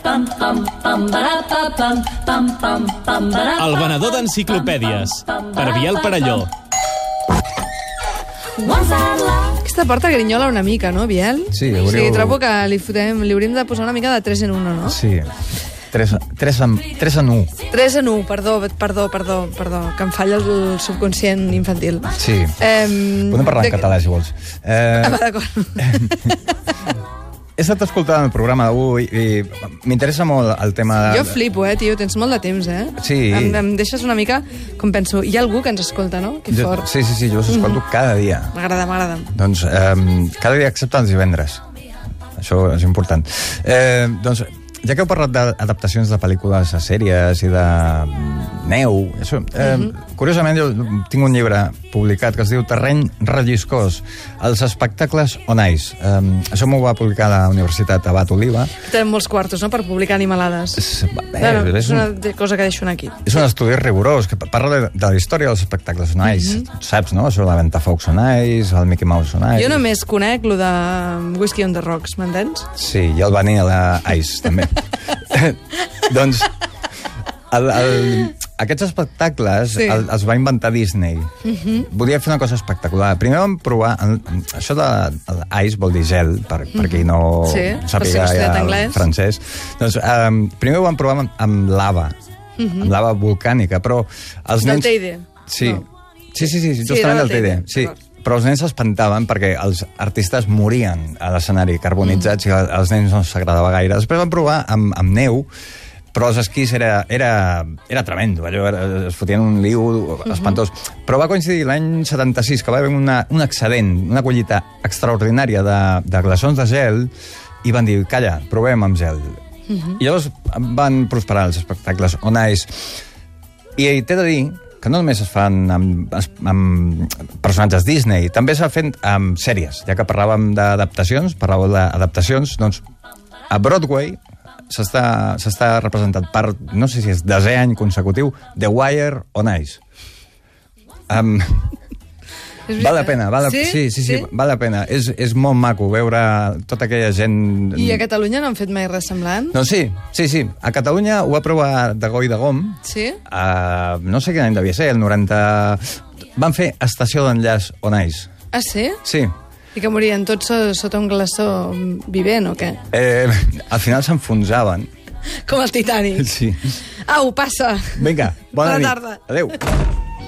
Pam, pam, pam, barà, pa, pam, pam, pam, pam, barà, El pa, venedor pam, d'enciclopèdies, pam, pam, per barà, Biel pa, Parelló. pam. Once I loved- Aquesta porta grinyola una mica, no, Biel? Sí, O sigui, hauríeu- trobo que li, fotem, li hauríem de posar una mica de 3 en 1, no? Ah, Sí. 3, 3, en, 3 en 1. 3 en 1, perdó, perdó, perdó, perdó, que em falla el subconscient infantil. Sí. Eh, Podem parlar en català, si vols. Eh, Ah, va, d'acord. he estat escoltant el programa d'avui i m'interessa molt el tema... de- Jo flipo, eh, tio, tens molt de temps, eh? Sí. Em, em deixes una mica, com penso, hi ha algú que ens escolta, no? Que Jo- fort. Mhm. Sí, sí, sí, jo us escolto cada dia. M'agrada, m'agrada. Doncs eh, cada dia excepte els divendres. Això és important. Eh, doncs, ja que heu parlat d'adaptacions de pel·lícules a sèries i de mm, neu, això, eh, Mhm. curiosament jo tinc un llibre publicat que es diu Terreny relliscós, els espectacles on ice. Eh, això m'ho va publicar la Universitat Abat Oliva. Tenen molts quartos, no?, per publicar animalades. És, eh, Bueno, és un- una de- cosa que deixo aquí. és un estudi rigorós que parla de, de la història dels espectacles on ice. Mhm. Saps, no? Això de la Ventafocs on ice, el Mickey Mouse on ice... Jo només conec lo de Whiskey on the Rocks, m'entens? Sí, i el Vanilla Ice, també. doncs, el, el, aquests espectacles Sí. Mhm. sí. el, els va inventar Disney. Volia fer una cosa espectacular. Primer vam provar... El, això de el ice vol dir gel, per, per qui no Mhm. Sí, per si no sàpiga ha estudiat ja anglès. el francès. Doncs, um, primer ho vam provar amb, amb lava, Mhm. amb lava volcànica, però els Del nens... Teide. Sí. No. sí, sí, sí, sí, era justament del del TD. TD, Sí, d'acord. però els nens s'espantaven perquè els artistes morien a l'escenari carbonitzats mm. i als nens no s'agradava gaire. Després van provar amb, amb neu, però els esquís era, era, era tremendo, allò era, es fotien un liu espantós. Però va coincidir l'any 76 que va haver una, un excedent, una collita extraordinària de, de glaçons de gel i van dir, calla, provem amb gel. I llavors van prosperar els espectacles on ice i t'he de dir que no només es fan amb, es- amb personatges Disney, també s'ha fet amb sèries. Ja que parlàvem d'adaptacions, parlàveu d'adaptacions, doncs a Broadway s'està s'està representat per, no sé si és desè any consecutiu, The Wire on Ice. Um, És val la veritat. pena, val la, sí? Sí, sí, sí, val la pena. És, és molt maco veure tota aquella gent... I a Catalunya no han fet mai res semblant? Doncs sí, sí, sí. A Catalunya ho va provar de goi de gom, Sí? Uh, no sé quin any devia ser, el 90... Van fer estació d'enllaç on ice. Ah, sí? Sí. I que morien tots so- sota un glaçó vivent o què? Eh, al final s'enfonsaven. Com el Titanic. Sí. Au, passa! Vinga, Bona bona, nit. tarda. Adéu.